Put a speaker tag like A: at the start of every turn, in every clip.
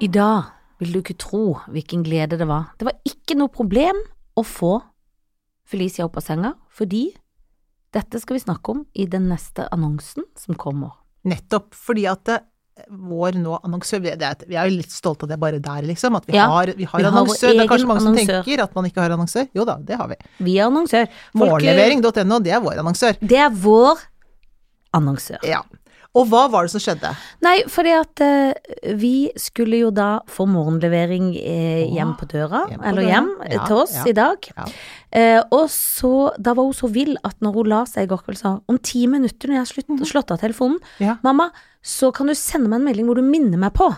A: I dag vil du ikke tro hvilken glede det var. Det var ikke noe problem å få Felicia opp av senga, fordi dette skal vi snakke om i den neste annonsen som kommer.
B: Nettopp fordi at eh, vår nå annonsør Vi det er- vi er jo litt stolte av det bare der, liksom. At vi
A: Ja,
B: har, vi har
A: vi har vår
B: annonsør. Det er
A: egen
B: kanskje mange som
A: annonsør.
B: tenker at man ikke har annonsør. Jo da, det har vi.
A: Vi er annonsør. Folk- eh,
B: Morgenlevering.no, det er vår annonsør.
A: Det er vår annonsør.
B: Ja. Og hva var det som skjedde?
A: Nei, fordi at eh, vi skulle jo da få morgenlevering eh,
B: Åh,
A: hjem på døra,
B: hjem på
A: eller
B: døra.
A: hjem eh,
B: Ja,
A: til oss
B: ja,
A: i dag.
B: ja.
A: Eh, og så, da var hun så vill at når hun la seg i går kveld, sa hun, om ti minutter når jeg har slutt, slått av telefonen,
B: Mhm. Ja.
A: mamma, så kan du sende meg en melding hvor du minner meg på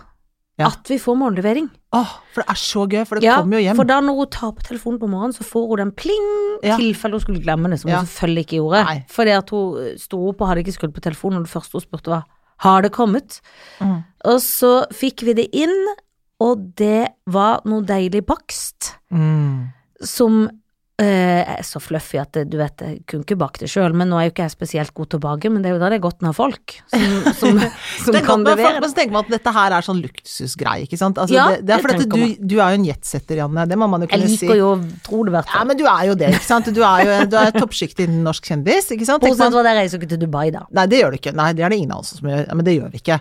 B: Ja.
A: at vi får morgenlevering.
B: Åh, for det er så gøy, for det
A: Ja,
B: kommer jo hjem.
A: for da når hun tar på telefonen på morgenen, så får hun den pling,
B: Ja.
A: tilfelle hun skulle glemme det, som
B: Ja.
A: hun selvfølgelig ikke gjorde.
B: Nei.
A: Fordi at hun eh, sto opp og hadde ikke skrudd på telefonen, og det første hun spurte var, har det kommet?
B: Mm.
A: Og så fikk vi det inn, og det var noe deilig bakst
B: Mm.
A: som eh, er så fluffy at det- du vet, jeg kunne ikke bake det sjøl, men nå er jo ikke jeg spesielt god til å bake, men det er jo da det er godt når folk som, som, som
B: Det er
A: kan
B: godt, men,
A: levere
B: men
A: det.
B: så tenker man at dette her er sånn luksusgreie, ikke sant. Altså,
A: Ja,
B: det, det
A: det
B: er fordi at
A: tenker
B: du, du er jo en jetsetter, Janne. Det må man jo
A: Jeg
B: kunne si.
A: liker jo å tro det, i hvert
B: Ja,
A: fall.
B: men du er jo det, ikke sant. Du er jo du er toppsjiktet innen norsk kjendis, ikke sant. Tenker
A: Bortsett
B: man-
A: fra at jeg reiser jo ikke til Dubai, da.
B: Nei, det gjør du ikke. Nei, det er det ingen av oss som gjør. Ja, Men det gjør vi ikke.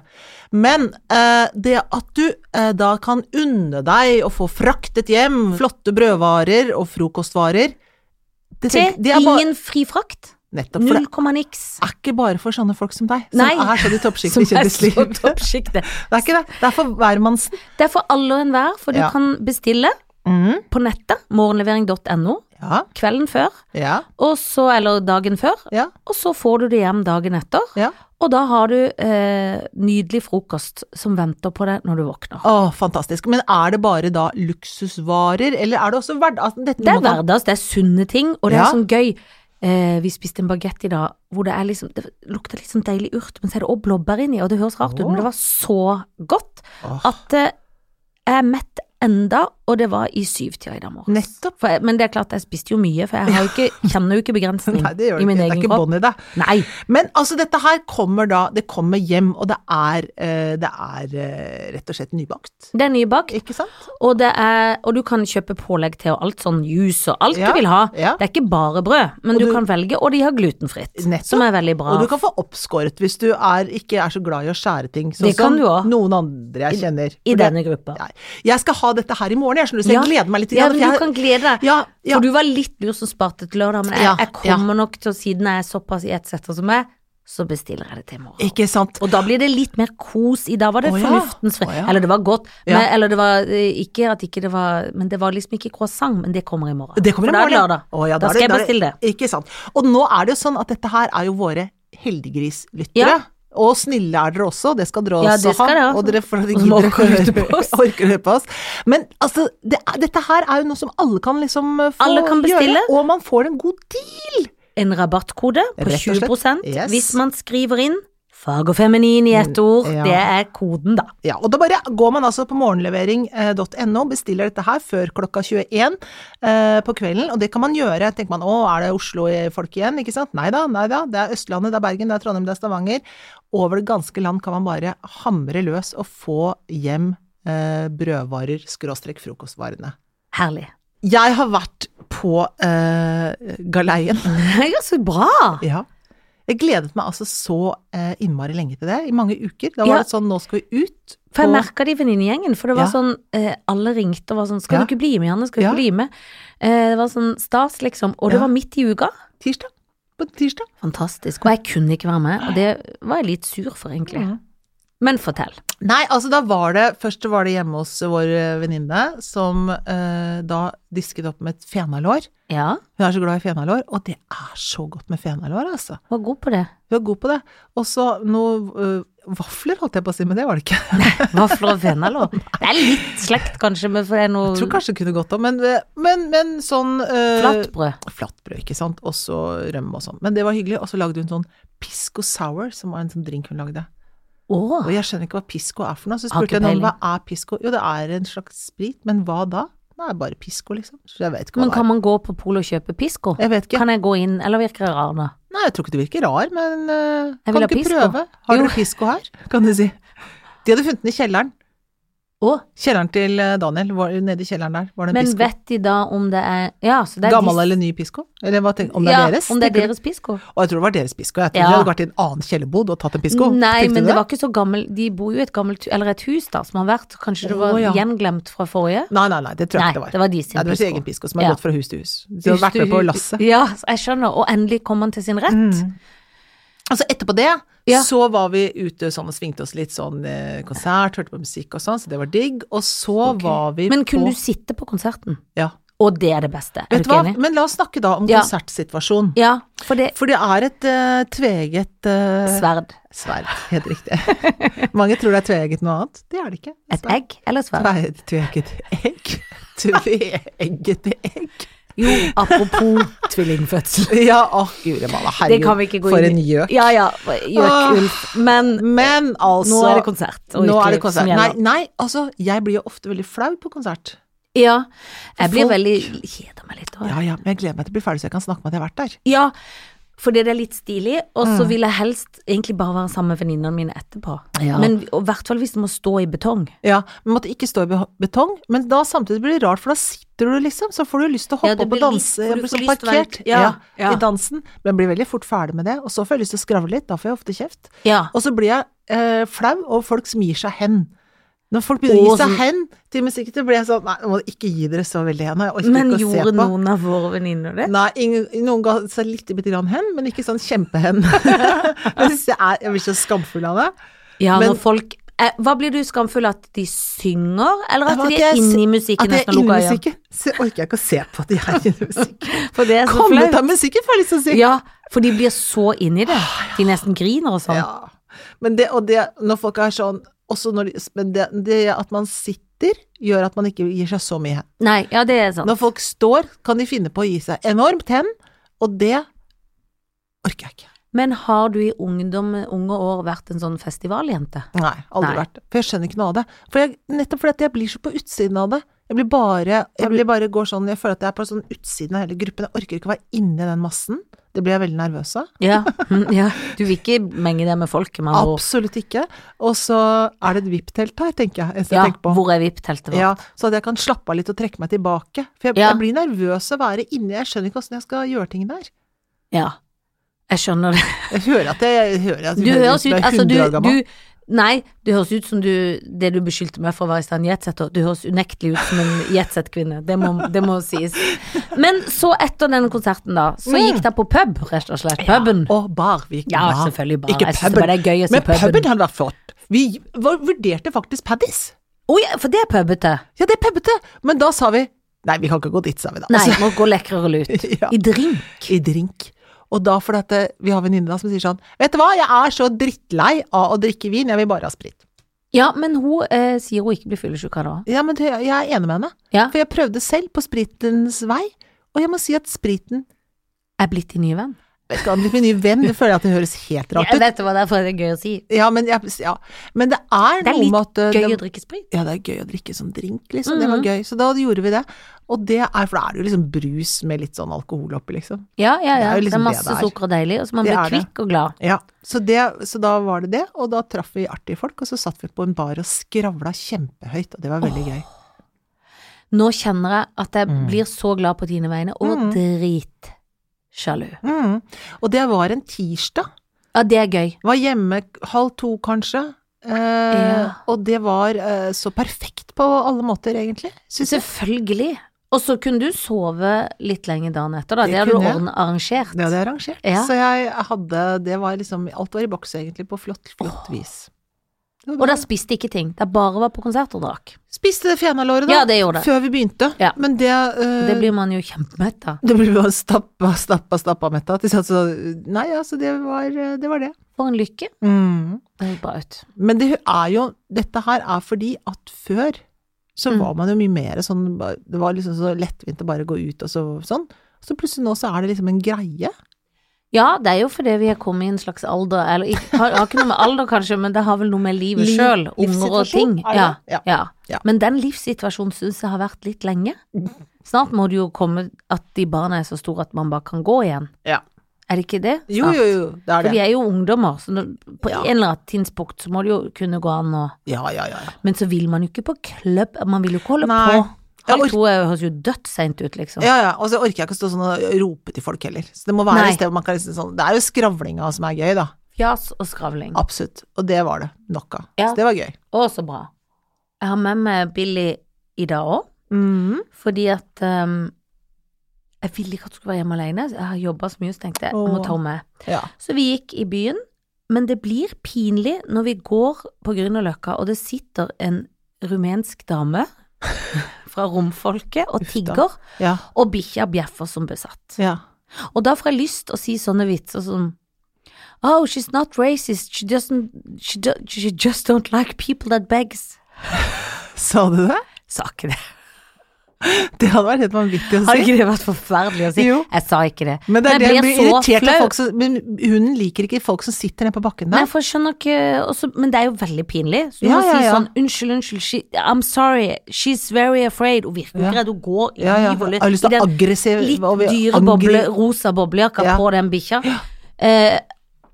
B: Men eh, det at du eh, da kan unne deg å få fraktet hjem flotte brødvarer og frokostvarer det,
A: Til
B: tenk- det er bare,
A: ingen fri frakt.
B: Nettopp, for det
A: Null komma niks.
B: er ikke bare for sånne folk som deg, som
A: Nei.
B: er sånn i toppsjiktet
A: Som er
B: i
A: så
B: kjendislivet.
A: toppsjiktet.
B: Det er ikke det. Det er for hvermannsen.
A: Det er for alle og enhver, for du
B: Ja.
A: kan bestille på nettet, morgenlevering.no,
B: Ja,
A: kvelden før,
B: ja,
A: og så, eller dagen før,
B: ja,
A: og så får du det hjem dagen etter.
B: ja.
A: Og da har du eh, nydelig frokost som venter på deg når du våkner.
B: Å, fantastisk. Men er det bare da luksusvarer, eller er det også hverdag... altså,
A: Det
B: dette
A: er
B: må man-
A: hverdags, det er sunne ting, og det
B: Ja.
A: er sånn gøy. Eh, vi spiste en bagett i dag hvor det, er liksom, det lukter litt sånn deilig urt, men så er det også blåbær inni, og det høres rart ut,
B: Åh.
A: men det var så godt
B: Åh.
A: at eh, jeg er mett enda, og det var i syvtida i dag morges.
B: Nettopp.
A: For jeg, men det er klart, jeg spiste jo mye, for jeg har jo ikke, kjenner jo ikke begrensning
B: Nei, det gjør
A: i
B: du ikke.
A: min
B: Det er
A: egen
B: ikke
A: kropp.
B: bånd i det.
A: Nei,
B: Men altså, dette her kommer da Det kommer hjem, og det er, eh, det er eh, rett og slett nybakt.
A: det er nybakt,
B: Ikke sant?
A: og, det er, og du kan kjøpe pålegg til og alt sånn juice og alt
B: Ja,
A: du vil ha.
B: ja.
A: Det er ikke bare brød, men
B: Og
A: du,
B: du-
A: kan velge, og de har glutenfritt,
B: Nettopp.
A: som er veldig bra.
B: Og du kan få oppskåret hvis du er, ikke er så glad i å skjære ting, sånn
A: Det kan
B: som
A: du også.
B: noen andre jeg kjenner.
A: I
B: For det-
A: denne gruppa.
B: Nei. Jeg skal ha dette her i morgen, jeg skjønner, så jeg
A: Ja.
B: gleder meg litt.
A: Ja,
B: grann,
A: men
B: for
A: du
B: jeg-
A: kan glede deg.
B: Ja, ja.
A: For du var litt lur som sparte til lørdag, men jeg,
B: Ja,
A: jeg kommer nok til, å- siden jeg er såpass i ett setter som jeg, så bestiller jeg det til i morgen.
B: Ikke sant?
A: Og da blir det litt mer kos i dag, var det
B: Å ja,
A: fornuftens fri.
B: å ja.
A: Eller det var godt,
B: Ja.
A: men, eller det var eh, ikke at ikke det var Men det var liksom ikke croissant, men det kommer i morgen.
B: Det kommer i
A: For da er
B: morgen.
A: det lørdag.
B: Å, ja,
A: da,
B: er
A: skal jeg
B: er
A: bestille det.
B: Ikke sant. Og nå er det jo sånn at dette her er jo våre heldiggrislyttere.
A: Ja.
B: Og snille er dere også, det skal dere også
A: Ja, det skal
B: ha.
A: dere ha.
B: Og dere for at dere
A: Og som
B: gidder å
A: orker å lytte
B: høre-
A: på oss.
B: orker å høre på oss. Men altså, det er, dette her er jo noe som alle kan liksom eh, få
A: Alle kan bestille.
B: gjøre. Og man får en god deal.
A: En rabattkode på
B: Rett og
A: 20
B: slett. Yes. Mm,
A: hvis man skriver inn fag og feminin i ett ord.
B: Ja.
A: Det er koden, da.
B: Ja, og da bare går man altså på morgenlevering.no, bestiller dette her før klokka 21 eh, på kvelden, og det kan man gjøre. Tenker man å, er det Oslo-folk igjen? Ikke sant? Nei da, nei da. Det er Østlandet, det er Bergen, det er Trondheim, det er Stavanger. Over det ganske land kan man bare hamre løs og få hjem eh, brødvarer, skråstrek frokostvarene.
A: Herlig.
B: Jeg har vært på eh, galeien.
A: Ja, så bra!
B: Ja. Jeg gledet meg altså så eh, innmari lenge til det, i mange uker. Da var
A: Ja.
B: det sånn, nå skal vi ut.
A: For
B: på-
A: jeg merka det i venninnegjengen, for det var
B: Ja.
A: sånn eh, Alle ringte og var sånn 'Skal
B: Ja.
A: du ikke bli med, Janne? Skal du
B: Ja.
A: ikke bli med?' Eh, det var sånn stas, liksom. Og det
B: Ja.
A: var midt i uka.
B: Tirsdag. På tirsdag.
A: Fantastisk. Og jeg kunne ikke være med, og det var jeg litt sur for, egentlig.
B: Mhm.
A: Men fortell.
B: Nei, altså da var det Først var det hjemme hos vår eh, venninne som eh, da disket opp med et fenalår.
A: Ja,
B: Hun er så glad i fenalår, og det er så godt med fenalår, altså.
A: var god på det.
B: Hun er god på det. Og så noe eh, vafler, holdt jeg på å si, men det var det ikke.
A: Vafler og fenalår. Det er litt slekt, kanskje, men for det er
B: Jeg tror
A: noe
B: kanskje det kunne gått om, men, eh, men, men sånn eh,
A: flatbrød.
B: Flatbrød, ikke sant. Og så rømme og sånn. Men det var hyggelig. Og så lagde hun sånn pisco sour, som var en sånn drink hun lagde.
A: Å,
B: Og jeg skjønner ikke hva pisco er for noe. Så
A: Har
B: spurte
A: ikke
B: jeg noen hva
A: peiling.
B: er pisco? Jo, det er en slags sprit, men hva da? Det er bare pisco, liksom. Så jeg vet ikke hva
A: men
B: det er.
A: kan man gå på polet og køpe pisko?
B: Jeg vet ikke.
A: Kan jeg gå inn, eller virker jeg rar nå?
B: Nei, jeg tror ikke du virker rar, men eh,
A: Jeg
B: kan
A: vil ha
B: du ikke
A: pisco.
B: prøve? Har
A: Jo.
B: dere pisco her? Kan du si. De hadde funnet den i kjelleren.
A: Å,
B: Kjelleren til eh, Daniel, var, nede i kjelleren der, var det en
A: men
B: pisko?
A: vet de da om det er Ja, så det er
B: Gammel
A: de-
B: eller ny pisko? Eller hva tenker, om det er
A: ja,
B: deres?
A: Om det er
B: tenker du?
A: deres pisko?
B: Og jeg tror det var deres pisko. Jeg tror
A: Ja.
B: de hadde vært i en annen kjellerbod og tatt en pisko.
A: Nei,
B: Tenkte
A: men
B: du
A: det var ikke så gammel De bor jo i et gammelt hu- Eller et hus da, som har vært Kanskje det var
B: Å, ja.
A: gjenglemt fra forrige?
B: Nei, nei, nei, det tror
A: Nei,
B: jeg ikke det var.
A: det var de sin
B: Nei, det var sin
A: pisko.
B: egen pisko som har
A: Ja.
B: gått fra hus til hus. De har vært med på lasset. Mm.
A: Ja, jeg skjønner. Og endelig kom han til sin rett.
B: Altså etterpå det,
A: Mm. Ja.
B: så var vi ute sånn og svingte oss litt sånn eh, konsert, hørte på musikk og sånn, så det var digg. Og så var vi
A: Men kunne
B: på
A: du sitte på konserten?
B: ja.
A: Og det er det beste. Er du
B: Vet du hva,
A: ikke enig?
B: men la oss snakke da om
A: Ja.
B: konsertsituasjonen.
A: Ja, for det
B: For det er et eh, tveget eh,
A: Sverd.
B: sverd. Helt riktig. Mange tror det er tveget noe annet. Det er det ikke.
A: Et egg eller sverd?
B: Nei, tveget egg. Tveegget egg.
A: Jo, apropos tvillingfødsel.
B: Ja, å guri malla,
A: Det kan vi
B: herregud,
A: ikke gå
B: for
A: inn
B: en
A: i.
B: gjøk.
A: Ja, ja. Gjøk,
B: Åh.
A: Ulf. Men
B: Men altså
A: nå er det konsert og
B: Nå er det
A: utklipp som
B: konsert. Nei,
A: gjelder.
B: nei, altså, jeg blir jo ofte veldig flau på konsert.
A: ja. Jeg blir
B: Folk-
A: veldig Kjeder meg litt. også.
B: Ja ja, men jeg gleder meg til å bli ferdig så jeg kan snakke om at jeg har vært der.
A: Ja, fordi det er litt stilig, og så vil jeg helst egentlig bare være sammen med venninnene mine etterpå.
B: Ja.
A: Men i hvert fall hvis det må stå i betong.
B: Ja, men måtte ikke stå i beho- betong, men da samtidig blir det rart, for da sitter du liksom, så får du lyst til å hoppe
A: Ja, det
B: opp og
A: blir lyst-
B: danse,
A: for
B: jeg
A: du
B: blir
A: får
B: sånn
A: lyst til å være-
B: parkert
A: ja, ja.
B: i dansen, men blir veldig fort ferdig med det, og så får jeg lyst til å skravle litt, da får jeg ofte kjeft.
A: Ja.
B: Og så blir jeg eh, flau, og folk som gir seg hen. Når folk begynner å
A: Å,
B: gi seg
A: sånn-
B: hen til musikken, så blir jeg sånn Nei, nå må du ikke gi dere så veldig hen. og Jeg orker
A: Men
B: ikke å se
A: gjorde
B: på.
A: noen av våre venninner det?
B: Nei, ingen, noen ga seg litt bitte grann hen, men ikke sånn kjempehen. Men jeg, er, jeg blir så skamfull av det.
A: Ja,
B: Men-
A: når folk eh, Hva blir du skamfull av? At de synger, eller at
B: At
A: de
B: jeg
A: er inne
B: se-
A: i
B: At
A: musikken
B: jeg
A: nesten
B: er inni
A: lukka øynene?
B: musikken, så orker jeg ikke å se på at jeg er inni musikken.
A: For det er så
B: Kom ut
A: flaut.
B: av musikken, får jeg lyst til å si.
A: Ja, Ah, for de blir så inni det. De nesten griner og sånn.
B: Ja. Men det, og det, når folk er sånn også når de, Men det, det at man sitter, gjør at man ikke gir seg så mye hen.
A: Nei, ja, det er sant.
B: Når folk står, kan de finne på å gi seg enormt hen, og det orker jeg ikke.
A: Men har du i ungdom, unge år vært en sånn festivaljente?
B: Nei, aldri
A: Nei.
B: vært. For jeg skjønner ikke noe av det. For jeg, nettopp fordi at jeg blir så på utsiden av det. Jeg blir bare, jeg blir bare går sånn, jeg føler at jeg er på sånn utsiden av hele gruppen. Jeg orker ikke å være inni den massen. Det blir jeg veldig nervøs av.
A: Ja. mm, ja. Du vil ikke menge deg med folket, med andre ord.
B: Absolutt ikke. Og så er det et VIP-telt her, tenker jeg. eneste
A: Ja,
B: jeg tenker på.
A: hvor er VIP-teltet vårt?
B: Ja, så at jeg kan slappe av litt og trekke meg tilbake. For jeg,
A: Ja.
B: jeg blir nervøs av å være inni, jeg skjønner ikke åssen jeg skal gjøre ting der.
A: Ja. Jeg skjønner det.
B: Jeg hører at jeg, jeg hører at
A: Du
B: jeg
A: høres ut
B: som jeg er
A: altså,
B: 100 år
A: du,
B: gammel.
A: du, Nei, du høres ut som du Det du beskyldte meg for å være i stand jetsetter, du høres unektelig ut som en jetsettkvinne. Det, må- det må sies. Men så, etter den konserten, da, så
B: Mm.
A: gikk det på pub, rett og slett. Puben.
B: Og bar. Vi gikk
A: Ja,
B: bar.
A: selvfølgelig bar.
B: Ikke
A: Jeg synes det
B: puben.
A: bare det er gøy å si
B: Men
A: puben.
B: puben hadde vært flott. Vi var, vurderte faktisk Paddis.
A: Å ja, for det er pubete.
B: Ja, det er pubbete. Men da sa vi Nei, vi kan ikke gå dit, sa vi da.
A: Nei,
B: Altså,
A: må gå lekrere lut.
B: ja,
A: I drink.
B: I drink. Og da fordi at eh, vi har venninne da som sier sånn Vet du hva, jeg er så drittlei av å drikke vin, jeg vil bare ha sprit.
A: Ja, men hun eh, sier hun ikke blir fyllesyk av det òg.
B: Ja, men det, jeg er enig med henne.
A: Ja.
B: For jeg prøvde selv på spritens vei, og jeg må si at spriten
A: Er blitt din nye venn.
B: Vet ikke om det blir min nye venn, det føler jeg at det høres helt rart
A: Jeg
B: ut.
A: vet det var derfor det er gøy å si.
B: Ja, men, jeg, ja. men det er
A: Det er
B: noe med at eh,
A: litt gøy
B: det-
A: å drikke Mm. sprit.
B: Ja, det er gøy å drikke sånn drink, liksom. Det var gøy. Så da gjorde vi det. Og det er, for da er det jo liksom brus med litt sånn alkohol oppi, liksom.
A: Ja, ja, ja.
B: Det er jo
A: Det er,
B: liksom det
A: masse
B: det er.
A: sukker og deilig, og så man
B: Det
A: blir
B: er det.
A: kvikk og glad.
B: Ja, så, det, så da var det det, og da traff vi artige folk, og så satt vi på en bar og skravla kjempehøyt, og det var veldig gøy.
A: Nå kjenner jeg at jeg blir så glad på dine vegne, og
B: Mm.
A: dritsjalu.
B: Mm. Og det var en tirsdag.
A: Ja, det er gøy.
B: Var hjemme halv to, kanskje. Eh,
A: Ja.
B: Og det var eh, så perfekt på alle måter, egentlig. Synes jeg.
A: Selvfølgelig. Og så kunne du sove litt lenger dagen etter, da.
B: Det
A: Det, hadde du
B: kunne jeg.
A: ordnet arrangert.
B: Det hadde jeg arrangert.
A: Ja.
B: Så jeg hadde Det var liksom Alt var i boks, egentlig, på flott, flott vis. Det var
A: Og
B: bra.
A: da spiste jeg ikke ting. Det bare var på konsert og drakk.
B: spiste det fenalåret, da.
A: Ja, det gjorde jeg.
B: Før vi begynte.
A: Ja.
B: Men det eh,
A: Det blir man jo kjempemett av.
B: det ble bare stappa, stappa, stappa metta. Til slutt så- Nei, altså, det var eh, det. Var det.
A: For en lykke.
B: Mm.
A: Det høres bra ut.
B: Men det er jo Dette her er fordi at før så
A: Mm.
B: var man jo mye mer sånn ba- Det var liksom så lettvint å bare gå ut og så sånn. Så plutselig nå så er det liksom en greie.
A: Ja, det er jo fordi vi har kommet i en slags alder, eller ikke, har, har ikke noe med alder kanskje, men det har vel noe med livet
B: Liv-
A: sjøl, unger og ting.
B: livssituasjon, er det?
A: Ja,
B: Ja.
A: ja.
B: Ja.
A: Men den livssituasjonen syns jeg har vært litt lenge. Snart må det jo komme at de barna er så store at man bare kan gå igjen.
B: Ja.
A: Er det ikke det?
B: Jo, jo, jo, det er
A: For vi
B: det.
A: er jo ungdommer, så når, på
B: Ja.
A: en eller annen tidspunkt så må det jo kunne gå an å
B: Ja, ja, ja. ja.
A: Men så vil man jo ikke på klubb, man vil jo ikke holde
B: Nei.
A: på. Halv
B: Jeg ork-
A: to er- høres jo dødsseint ut, liksom.
B: Ja, ja, og så orker jeg ikke å stå sånn og rope til folk heller. Så det må være
A: Nei.
B: et sted hvor man kan liksom sånn Det er jo skravlinga som er gøy, da.
A: Jazz og skravling.
B: Absolutt. Og det var det nok av.
A: Mm. Ja.
B: Så det var gøy.
A: Å, så bra. Jeg har med meg Billy i dag òg,
B: Mm-hmm.
A: fordi at ehm, Jeg ville ikke at hun skulle være hjemme alene, så jeg har jobba så mye, så tenkte jeg jeg må
B: Åh.
A: ta henne med.
B: Ja.
A: Så vi gikk i byen, men det blir pinlig når vi går på Grünerløkka, og det sitter en rumensk dame fra romfolket og
B: Uff da.
A: tigger,
B: Ja.
A: og bikkja bjeffer som besatt.
B: ja.
A: Og da får jeg lyst til å si sånne vitser som Oh, she's not racist, she doesn't She, do, she just don't like people that begs.
B: Sa du det?
A: Sa ikke det.
B: Det hadde vært helt vanvittig å
A: Hadde
B: si.
A: ikke det vært forferdelig å si?
B: Jo.
A: Jeg sa ikke det.
B: Men det er
A: Men
B: det
A: jeg
B: hun
A: blir
B: blir
A: så
B: irritert
A: flau.
B: av folk som Men hunden liker ikke folk som sitter nede på bakken
A: Nei,
B: der.
A: for jeg skjønner ikke også, Men det er jo veldig pinlig. Så du må
B: Ja, ja,
A: si
B: ja.
A: sånn Unnskyld, unnskyld, she, I'm sorry, she's very afraid. Hun virker jo
B: Ja.
A: ikke redd, hun går i
B: Ja, ja.
A: liv og lyst.
B: Jeg har lyst til
A: I
B: å
A: den
B: aggressiv og vi-
A: Litt dyre
B: angri-
A: boble, rosa boblejakka
B: Ja.
A: på den bikkja. Eh,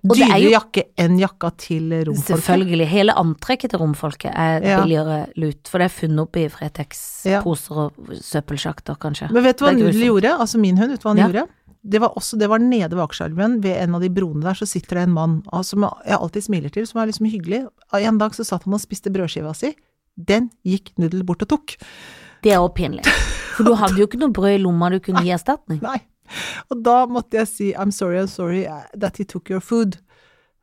A: og det er
B: Dyrere
A: jo
B: jakke enn jakka til romfolket.
A: Selvfølgelig. Hele antrekket til romfolket er
B: Ja.
A: billigere lut, for det er funnet opp i Fretex-poser og søppelsjakter, kanskje.
B: Men vet du hva
A: Det er
B: Nudel
A: grusomt.
B: gjorde? Altså min hund, vet du hva han
A: Ja.
B: gjorde? Det var også, det var nede ved Akerselven, ved en av de broene der, så sitter det en mann ah, som jeg alltid smiler til, som er liksom hyggelig. Ah, En dag så satt han og spiste brødskiva si. Den gikk Nudel bort og tok.
A: Det er også pinlig. For du hadde jo ikke noe brød i lomma du kunne gi erstatning.
B: Nei. Og da måtte jeg si I'm sorry, I'm sorry eh, that he took your food.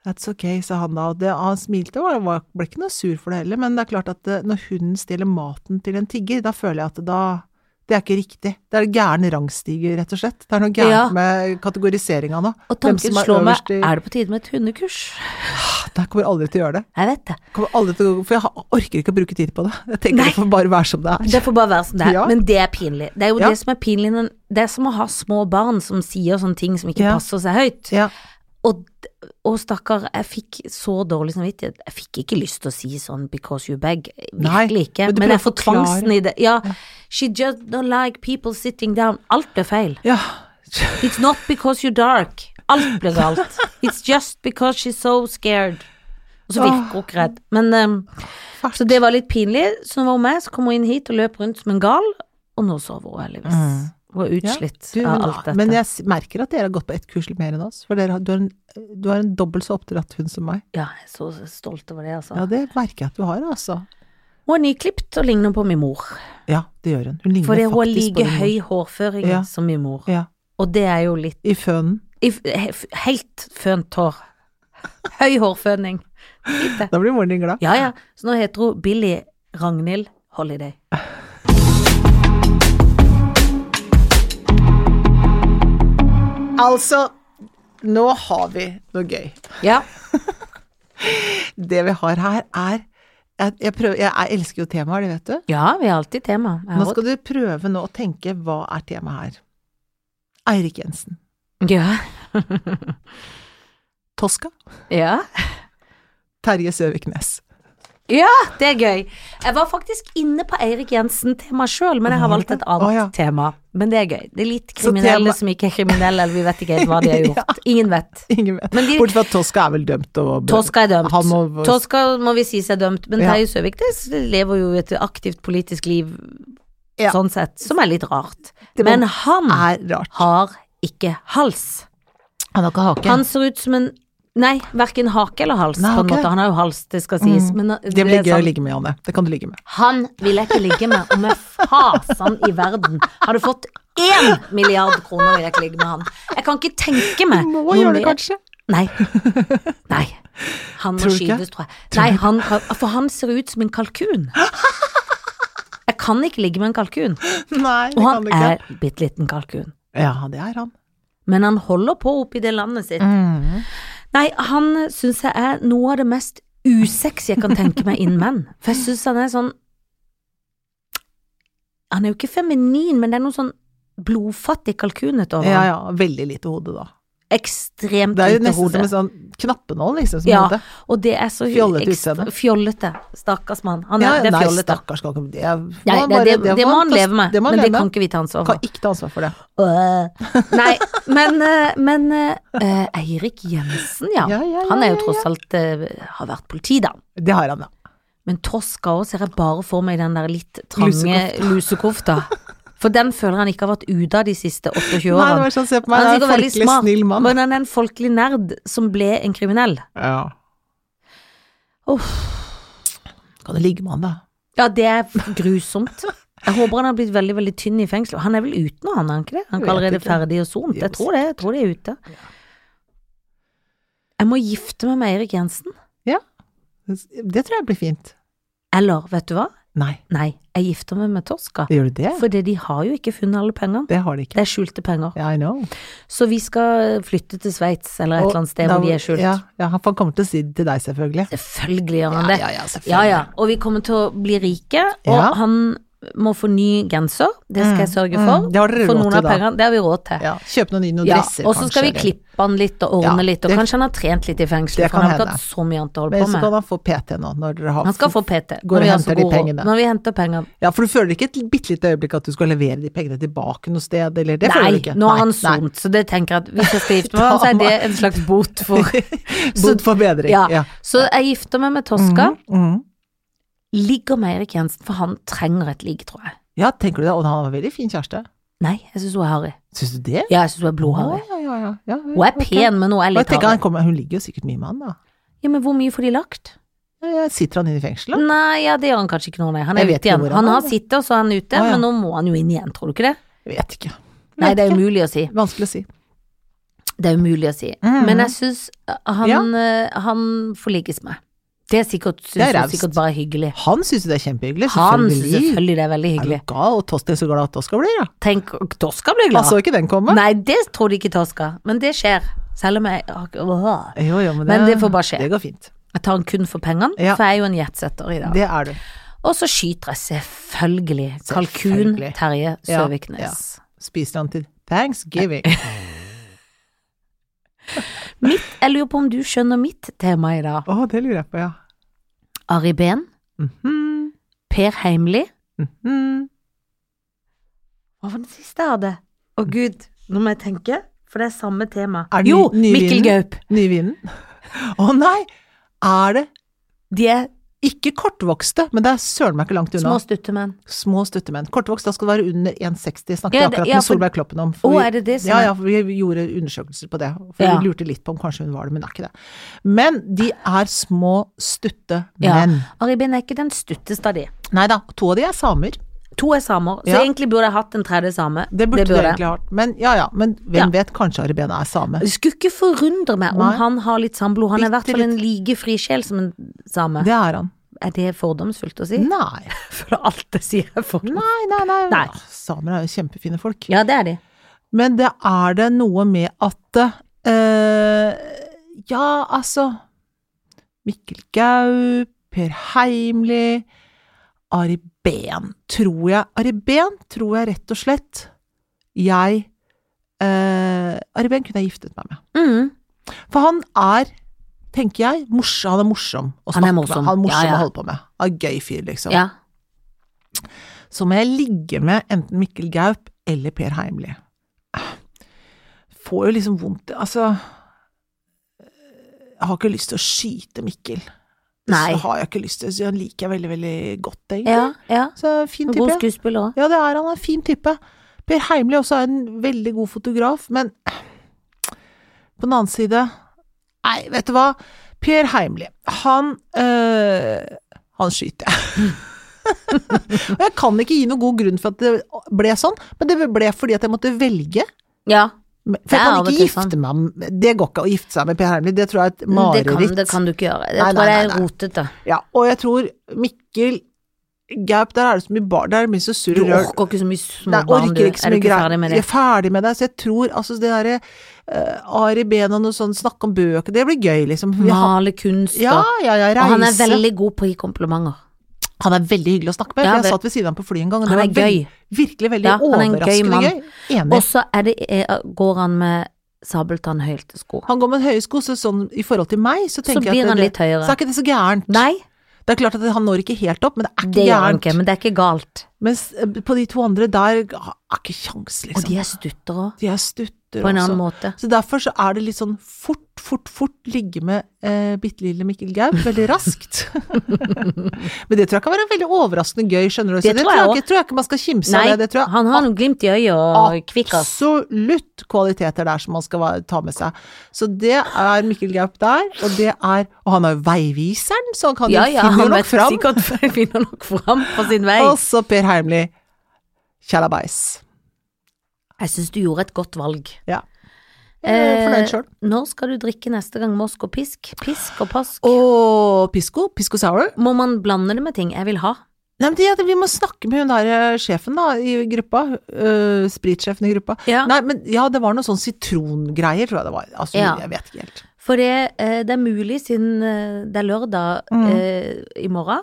B: That's okay, sa han da. Og det, han smilte og var- ble ikke noe sur for det heller, men det er klart at eh, når hunden stjeler maten til en tigger, da føler jeg at da Det er ikke riktig. Det er gæren rangstiger, rett og slett. Det er noe gærent
A: Ja.
B: med kategoriseringa nå.
A: Og
B: Hvem som
A: tanken
B: er
A: slår
B: øverst
A: meg,
B: i-
A: er det på tide med et hundekurs?
B: Jeg kommer aldri til å gjøre det.
A: Jeg vet det.
B: Kommer aldri til å, for jeg ha- orker ikke å bruke tid på det. Jeg tenker
A: Nei.
B: det får bare være som det er.
A: Det får bare være som det er.
B: Ja.
A: Men det er pinlig. Det er jo
B: Ja.
A: det som er pinlig når- Det er som å ha små barn som sier sånne ting som ikke
B: Ja.
A: passer seg høyt.
B: Ja.
A: Og, og stakkar, jeg fikk så dårlig samvittighet. Jeg fikk ikke lyst til å si sånn 'because you beg'.
B: Nei,
A: Virkelig ikke.
B: men du
A: Men, jeg
B: prøver å
A: får tvangen
B: forklare.
A: i det. Ja. She just don't like people sitting down. Alt ble feil.
B: ja.
A: It's not because you're dark. Alt ble galt. It's just because she's so scared. Og så virker hun ikke redd. Men ehm,
B: Fælt.
A: Så det var litt pinlig. Så når hun var med, så kom hun inn hit og løp rundt som en gal, og nå sover hun heldigvis. Hun er
B: Mm. Ja,
A: utslitt
B: du,
A: av
B: men-
A: alt dette.
B: Men jeg s- merker at dere har gått på ett kurs litt mer enn oss. For dere har, du, har en, du har en dobbelt så oppdratt hund som meg.
A: Ja, jeg er så stolt over det, altså.
B: Ja, det merker jeg at du har, altså.
A: Hun er nyklipt og ligner på min mor.
B: Ja, det gjør hun. Hun ligner
A: Fordi hun har
B: faktisk på
A: like
B: din mor.
A: høy hårføring
B: Ja.
A: som min mor.
B: Ja,
A: Og det er jo litt
B: I fønen.
A: i f- he- f- Helt fønt hår. Høy hårføning. Fint det.
B: Da blir moren din glad.
A: Ja, ja. Så nå heter hun Billy Ragnhild Holiday.
B: Altså, nå har vi noe gøy.
A: Ja.
B: Det vi har her, er Jeg, jeg, prøver, jeg, jeg elsker jo temaer, det vet du.
A: ja, vi har alltid tema. Jeg
B: Nå
A: har-
B: skal du prøve nå å tenke hva er temaet her. Eirik Jensen.
A: Ja.
B: Tosca.
A: ja.
B: Terje Søviknes.
A: Ja, det er gøy. Jeg var faktisk inne på Eirik Jensen-tema sjøl, men jeg har valgt et annet
B: Å, ja.
A: tema. Men det er gøy. Det er litt
B: Så
A: kriminelle
B: tema-
A: som ikke er kriminelle, eller vi vet ikke helt hva de har gjort. Ingen vet.
B: Ingen vet.
A: Men de-
B: Bortsett fra at Tosca er vel dømt og
A: Toska er dømt.
B: Han må-
A: Toska må vi si seg dømt, men
B: Ja.
A: Terje Søviknes lever jo et aktivt politisk liv
B: Ja.
A: sånn sett, som er litt rart.
B: Det må-
A: Men han
B: er rart.
A: har ikke hals.
B: Han har ikke hake.
A: Han ser ut som en Nei, verken hake eller hals,
B: Nei,
A: på en
B: ok. Mm.
A: måte. Han har jo hals, det skal sies. Men
B: det
A: er
B: blir
A: sånn-
B: gøy
A: sant.
B: å ligge med, Janne. Det kan du ligge med.
A: Han vil jeg ikke ligge med, og med fasen i verden. Hadde fått én milliard kroner vil jeg ikke ligge med han. Jeg kan ikke tenke meg
B: Må
A: noen
B: gjøre det,
A: mer-
B: kanskje.
A: Nei. Nei. Han må
B: Tror du ikke?
A: skytes, tror jeg. Nei, han kan, for han ser ut som en kalkun. Jeg kan ikke ligge med en kalkun.
B: Nei, det
A: Og
B: kan
A: han
B: du ikke.
A: er bitte liten kalkun.
B: Ja, det er han.
A: Men han holder på oppi det landet sitt. Mm. Nei, han syns jeg er noe av det mest usexy jeg kan tenke meg innen menn. For jeg syns han er sånn Han er jo ikke feminin, men det er noe sånn blodfattig kalkunhet over
B: Ja,
A: ham.
B: ja. Veldig lite hode, da.
A: Ekstremt
B: Det er jo
A: lite
B: nesten som
A: hode.
B: en sånn knappenål, liksom. Som
A: Ja,
B: hode.
A: og det er så
B: Fjollete
A: ekstra-
B: utseende.
A: Fjollete. Stakkars mann. Han er,
B: Ja,
A: det er
B: nei,
A: fjollete.
B: stakkars, skal ikke det må
A: Nei,
B: han
A: det,
B: bare-
A: det, det, må han
B: ta-
A: leve med,
B: Det må han
A: men det
B: leve
A: kan
B: med.
A: ikke vi ta ansvar
B: Kan
A: for.
B: ikke ta ansvar for det.
A: Øh. Nei, men, eh, men eh, Eirik Jensen, ja.
B: Ja, ja, ja,
A: Han er jo
B: ja,
A: tross alt eh, har vært politi, da.
B: Det har han, da.
A: Men Tosca òg ser jeg bare for meg den der litt trange lusekofta. For den føler han ikke har vært ute av de siste 28
B: Nei, det
A: årene.
B: var sånn, se på meg,
A: Han
B: det
A: er
B: er en
A: sikkert veldig
B: folkelig
A: smart,
B: snill mann.
A: men han er en folkelig nerd som ble en kriminell.
B: Ja. Kan du ligge med han, da?
A: Ja, det er grusomt. Jeg håper han har blitt veldig veldig tynn i fengselet. Han er vel ute nå, han er han ikke det? Han
B: Jeg
A: er
B: vet
A: allerede
B: ikke.
A: ferdig og sont. Jeg
B: Yes.
A: tror det. Jeg tror de er ute. Jeg må gifte meg med Eirik Jensen.
B: Det tror jeg blir fint.
A: Eller, vet du hva?
B: Nei,
A: Nei, jeg gifter meg med Tosca.
B: gjør du det?
A: Fordi de har jo ikke funnet alle pengene.
B: Det har de ikke.
A: Det er skjulte penger.
B: Ja, I know.
A: Så vi skal flytte til Sveits eller et
B: Og
A: eller annet sted
B: da-
A: hvor de er skjult.
B: Ja, ja, for han kommer til å si det til deg, selvfølgelig.
A: Selvfølgelig gjør han det.
B: Ja, ja, ja,
A: Ja,
B: selvfølgelig.
A: ja. Og vi kommer til å bli rike, og
B: Ja.
A: han må få ny genser. Det skal jeg sørge
B: Mm,
A: for.
B: mm, det har dere
A: for
B: råd
A: noen
B: til,
A: av
B: da.
A: pengene. Det har vi råd til.
B: Ja, Kjøpe noen nye noen
A: Ja,
B: dresser,
A: og så skal vi
B: eller-
A: klippe han litt og ordne
B: Ja,
A: litt, og
B: det-
A: kanskje han har trent litt i fengselet,
B: Det
A: for
B: kan
A: han har ikke
B: hende.
A: hatt så mye annet å holde
B: Men
A: på
B: så kan
A: med.
B: han få PT nå, når dere har
A: Han skal få PT
B: Går og
A: når vi har så
B: henter de
A: god råd.
B: pengene.
A: Når vi henter penger.
B: Ja, for du føler ikke et bitte lite øyeblikk at du skal levere de pengene tilbake noe sted, eller det føler du
A: Nei,
B: ikke?
A: nå har han
B: nei.
A: sont, så det tenker jeg at hvis jeg skal gifte meg med han, så er det en slags bot for
B: Bot for bedring.
A: Ja.
B: Ja.
A: Så jeg gifter meg med Tosca.
B: Mhm.
A: Ligger med Erik Jensen, for han trenger et ligg, tror jeg.
B: ja, tenker du det? Og han var en veldig fin kjæreste.
A: Nei, jeg syns hun er harry.
B: Syns du det?
A: Ja, jeg syns hun er blodharry.
B: Å, ja, ja, ja. ja, ja,
A: Hun er
B: ok.
A: pen, men hun er
B: Og jeg
A: litt
B: tenker
A: harry.
B: han kommer, Hun ligger jo sikkert mye med han, da.
A: Ja, men hvor mye får de lagt?
B: Ja, ja, Sitter han inne i
A: Mm.
B: fengsel, da?
A: Nei, ja, det gjør han kanskje ikke nå, nei. Han er
B: Jeg vet
A: ute igjen.
B: ikke hvor
A: Han
B: han er,
A: har
B: da.
A: sittet, og så er han ute,
B: Å, ja.
A: men nå må han jo inn igjen, tror du ikke det?
B: Jeg vet ikke.
A: Nei,
B: Vet
A: det er
B: ikke.
A: umulig å si.
B: Vanskelig å si.
A: Det er umulig å si.
B: Mhm.
A: Men jeg syns han,
B: Ja.
A: eh, han får ligges med. Det er sikkert,
B: Det
A: synes
B: er
A: hun
B: raust.
A: sikkert bare er hyggelig.
B: Han syns jo det er kjempehyggelig,
A: Han
B: selvfølgelig.
A: syns selvfølgelig det er veldig hyggelig.
B: Er du gal? Og Tostin så glad at Tosca blir, ja.
A: Tenk, Tosca blir
B: Han
A: glad.
B: så ikke den komme.
A: Nei, det trodde ikke Tosca, men det skjer. Selv om jeg har ikke- Åh.
B: Jo, jo, men, det,
A: Men det får bare skje.
B: Det går fint.
A: Jeg tar den kun for pengene,
B: Ja.
A: for jeg er jo en jetsetter i dag.
B: Det er du.
A: Og så skyter jeg selvfølgelig kalkun
B: Selvfølgelig.
A: Terje
B: Ja,
A: Søviknes.
B: Spiser han til thanksgiving.
A: Mitt, jeg lurer på om du skjønner mitt tema i dag.
B: Å, det lurer jeg på, ja.
A: Ari Behn,
B: Mhm,
A: Per Heimli
B: mhm.
A: Hva var den siste jeg hadde? Å gud, nå må jeg tenke, for det er samme tema.
B: Er det
A: jo,
B: ny- ny
A: Mikkel
B: vinen?
A: Gaup.
B: Nye vinen. Å nei! Er det
A: De er
B: ikke kortvokste, men det er søren meg ikke langt unna.
A: små stuttemenn.
B: Små stuttemenn. Kortvokst, da skal det være under 1,60, snakket
A: Ja,
B: jeg
A: det-
B: akkurat
A: ja,
B: med
A: for-
B: Solveig Kloppen om.
A: Å,
B: for vi-
A: er det det som
B: ja,
A: er-
B: ja, for vi gjorde undersøkelser på det, for
A: Ja.
B: vi lurte litt på om kanskje hun var det, men hun er ikke det. Men de er små, stutte
A: Ja.
B: menn.
A: Ari Behn er ikke den stutteste av de.
B: Nei da, to av de er samer.
A: To er samer, så
B: Ja.
A: egentlig burde jeg hatt en tredje same.
B: Det burde du egentlig ha hatt. Men ja ja, men
A: Ja.
B: hvem vet, kanskje Aribena er same.
A: jeg. Skulle ikke forundre meg om
B: Nei.
A: han har litt samblod. Han er i
B: Bitte
A: hvert fall en like fri sjel som en same.
B: Det er han.
A: Er det fordomsfullt å si?
B: Nei.
A: For alt det sier jeg fordoms.
B: Nei, nei, nei.
A: Nei.
B: Samer er jo kjempefine folk.
A: Ja, det er de.
B: Men det er det noe med at eh, Ja, altså Mikkel Gaup, Per Heimli, Ari Behn, tror jeg. Ari Behn tror jeg rett og slett jeg eh, Ari Behn kunne jeg giftet meg med.
A: Mm.
B: For han er, tenker jeg, morsom. Han er morsom å
A: Han er
B: snakke
A: morsom.
B: med. Han er morsom
A: Ja, ja.
B: å holde på med. Han er gøy fyr, liksom.
A: Ja.
B: Så må jeg ligge med enten Mikkel Gaup eller Per Heimli. Får jo liksom vondt Altså Jeg har ikke lyst til å skyte Mikkel.
A: Nei.
B: Så har jeg ikke lyst til så Han liker jeg veldig, veldig godt, egentlig.
A: Ja, ja.
B: Så fin
A: God
B: type.
A: skuespiller òg.
B: Ja, det er han. han er En fin type. Per Heimli også er en veldig god fotograf, men på den annen side Nei, vet du hva? Per Heimli, han øh, Han skyter jeg. Og jeg kan ikke gi noen god grunn for at det ble sånn, men det ble fordi at jeg måtte velge.
A: Ja.
B: Men-
A: Det
B: For jeg
A: er av
B: kan
A: og
B: ikke
A: til Mm,
B: gifte meg med Det går ikke å gifte seg med Per Heimli, det tror jeg er et
A: Det kan,
B: mareritt.
A: det kan du ikke gjøre. Jeg
B: Nei,
A: tror
B: nei,
A: det
B: nei,
A: er
B: nei.
A: rotete.
B: Ja, og jeg tror Mikkel Gaup, der er det så mye bar, der er det mye så surr
A: Du
B: og rør.
A: orker ikke så mye
B: Nei,
A: småbarn, du.
B: orker ikke så
A: Er du
B: mye
A: ikke
B: greier.
A: ferdig med
B: Jeg
A: det?
B: er ferdig med det, så jeg tror altså det derre uh, Ari Behn og noe sånt, snakke om bøker, det blir gøy, liksom. Vi har-
A: Male kunst
B: ja,
A: og
B: ja, ja, reise.
A: Og han er veldig god på å gi komplimenter.
B: Han er veldig hyggelig å snakke med.
A: Ja,
B: for jeg
A: vel-
B: satt ved siden av ham på flyet en gang, og det
A: Han
B: var
A: er gøy.
B: veld- virkelig veldig
A: Ja, han er en gøy
B: overraskende
A: mann.
B: gøy. Enig.
A: Og så er det- er- eh, går han med sabeltannhøylte sko.
B: Han går med høye sko, så sånn i forhold til meg, så tenker
A: blir
B: jeg
A: han
B: at det,
A: litt høyere.
B: Så er ikke det så gærent.
A: Nei,
B: Det er klart at han når ikke helt opp, men det er ikke
A: det gjør han
B: gærent.
A: ikke, men det er ikke galt.
B: Mens eh, på de to andre der ah, er ikke kjangs,
A: Og
B: liksom.
A: de er stutter òg,
B: De er stutter
A: på en annen
B: også.
A: måte.
B: Så derfor så er det litt sånn fort, fort, fort ligge med eh, bitte lille Mikkel Gaup, veldig raskt. Men det tror jeg kan være veldig overraskende gøy, skjønner du. Så
A: Det
B: det,
A: tror
B: tror jeg
A: jeg
B: ikke, tror jeg ikke man skal kimse
A: Nei,
B: av det. Det tror jeg
A: han har noe glimt i øyet og kvikkas.
B: absolutt kvaliteter der som man skal va- ta med seg. Så det er Mikkel Gaup der, og det er Og han har jo veiviseren, så han kan
A: Ja,
B: jo
A: ja,
B: finne
A: han
B: nok
A: vet
B: fram.
A: sikkert finner nok fram på sin vei.
B: Og så Per Heimly. Tjalabais.
A: Jeg syns du gjorde et godt valg.
B: Ja. Jeg er
A: Eh,
B: fornøyd sjøl.
A: Når skal du drikke neste gang mosk og pisk? Pisk og pask?
B: Og Pisco, Pisco Sour.
A: Må man blande det med ting jeg vil ha?
B: Nei, men det, er at vi må snakke med hun der eh, sjefen da, i gruppa. øh, spritsjefen i gruppa.
A: Ja.
B: Nei, men ja, det var noe sånn sitrongreier, tror jeg det var. Altså,
A: Ja.
B: jeg vet ikke helt.
A: For det, eh, det er mulig, siden eh, det er lørdag
B: Mhm.
A: eh, i morgen,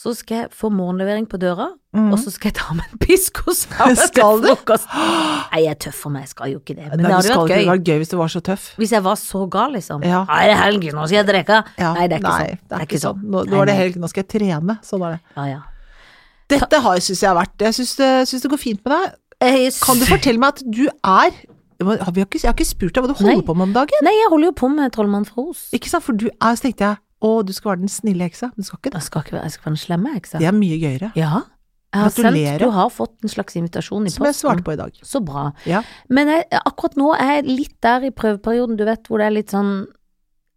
A: så skal jeg få morgenlevering på døra,
B: Mhm.
A: og så skal jeg ta med en pisk og saus
B: Skal
A: til
B: du?
A: frokost. Nei, jeg er tøff for meg, jeg skal jo ikke det, men
B: Nei,
A: det
B: det
A: hadde
B: skal
A: jo
B: ikke
A: vært gøy.
B: vært gøy hvis du var så tøff.
A: Hvis jeg var så gal, liksom.
B: Ja.
A: Nei, det er helg, nå skal jeg drikke.
B: Ja,
A: Nei, det er ikke
B: nei,
A: sånn.
B: Det er ikke sånn. Nå, nå
A: Nei,
B: er det
A: nei.
B: helg, nå skal jeg trene. Sånn er det.
A: Ja, ja.
B: Dette har- syns jeg har vært Jeg syns det, synes det går fint med deg.
A: Jeg,
B: Kan du fortelle meg at du er Jeg må- har vi ikke, jeg har ikke spurt deg hva du holder
A: Nei.
B: på med om dagen.
A: Nei, jeg holder jo på med Trollmann fra Os.
B: Ikke sant? For du er, så tenkte jeg å, du skal være den snille heksa. Men du skal ikke det.
A: Jeg skal ikke være, jeg skal være en slemme, ikke sant?
B: Det er mye gøyere.
A: Ja. Jeg har
B: Gratulerer.
A: sendt, du har fått en slags invitasjon i
B: Som jeg svarte
A: posten.
B: på i dag.
A: Så bra.
B: Ja.
A: Men jeg, akkurat nå er jeg litt der i prøveperioden, du vet, hvor det er litt sånn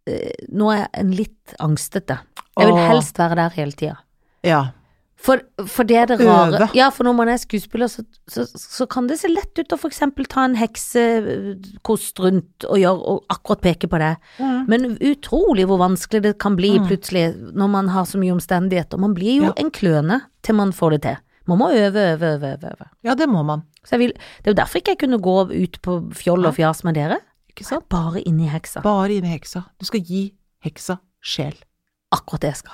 A: eh, Nå er jeg en litt angstete. Jeg vil
B: Åh.
A: helst være der hele tida.
B: Ja.
A: For, for det er det rare
B: Øve.
A: Ja, for når man er skuespiller, så, så, så kan det se lett ut å for eksempel ta en heksekost rundt og gjøre, og akkurat peke på det. Men utrolig hvor vanskelig det kan bli plutselig når man har så mye omstendigheter. Man blir jo
B: Mm. Ja.
A: en kløne til man får det til. Man må øve, øve, øve, øve. øve.
B: ja, det må man.
A: Så jeg vil, det er jo derfor ikke jeg kunne gå ut på fjoll og fjas med dere.
B: Ikke sant?
A: Bare inn i heksa.
B: Bare inn i heksa. Du skal gi heksa sjel.
A: Akkurat det jeg skal.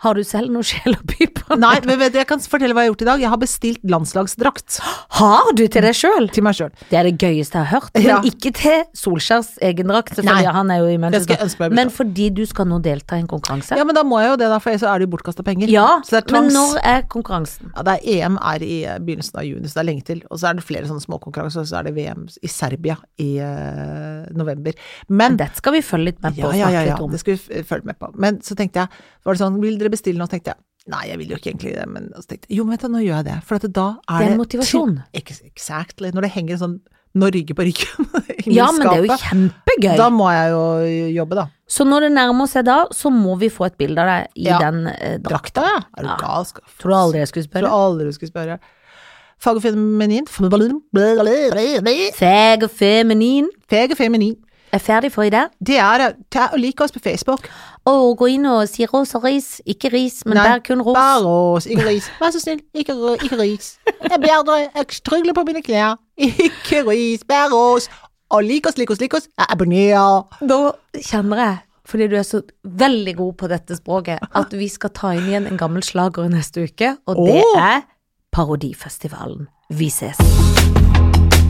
A: Har du selv noe sjel å by på?
B: Nei, men vet du, jeg kan fortelle hva jeg har gjort i dag. Jeg har bestilt landslagsdrakt
A: Har du til deg sjøl?
B: til meg sjøl.
A: Det er det gøyeste jeg har hørt, men
B: Ja.
A: ikke til Solskjærs egendrakt, selvfølgelig,
B: Nei.
A: han er jo i
B: Det skal
A: Manchester.
B: jeg ønske meg.
A: Men fordi du skal nå delta i en konkurranse.
B: Ja, men da må jeg jo det, da, for ellers så er det jo bortkasta penger.
A: Ja,
B: så det er
A: men
B: tvangs.
A: når er konkurransen?
B: Ja, det er EM er i eh, begynnelsen av juni, så det er lenge til. Og så er det flere sånne småkonkurranser, og så er det VM i Serbia i eh, november. Men
A: Dette skal vi følge litt med på
B: ja,
A: og
B: ja, ja,
A: snakke
B: ja,
A: litt om.
B: det skal vi f- følge med på. Men så tenkte jeg, var det sånn, vil dere bestille noe? Så tenkte jeg, nei, jeg vil jo ikke egentlig det, men og så tenkte jeg, jo, men vet du, nå gjør jeg det. For at da er
A: Det
B: det
A: er en motivasjon.
B: Ex- Exactly. Når det henger en sånn Norge på ryggen inni
A: Ja, men det er jo
B: skapet,
A: kjempegøy.
B: Da må jeg jo jobbe, da.
A: Så når det nærmer seg da, så må vi få et bilde av deg i
B: Ja.
A: den eh, drakten.
B: Drakta, ja. Er du
A: Ja.
B: gal? Skal-
A: Tror du aldri jeg skulle
B: Tror
A: spørre?
B: aldri du skulle spørre. Fag og feminin. Fag
A: Fag og feminin
B: og feminin.
A: er ferdig for i dag.
B: Det er ta og like oss på Facebook.
A: Og gå inn og si ros og ris. Ikke ris, men
B: Nei,
A: bær kun ros.
B: Bare ros, ikke ris. Vær så snill, ikke, ro- ikke ris. Jeg ber dere, jeg strugler på mine klær. Ikke ris, bare ros. Og lik oss, lik oss, lik oss. Jeg abonnerer.
A: Da kjenner jeg, fordi du er så veldig god på dette språket, at vi skal ta inn igjen en gammel slager neste uke, og det
B: Åh.
A: er Parodifestivalen. Vi ses.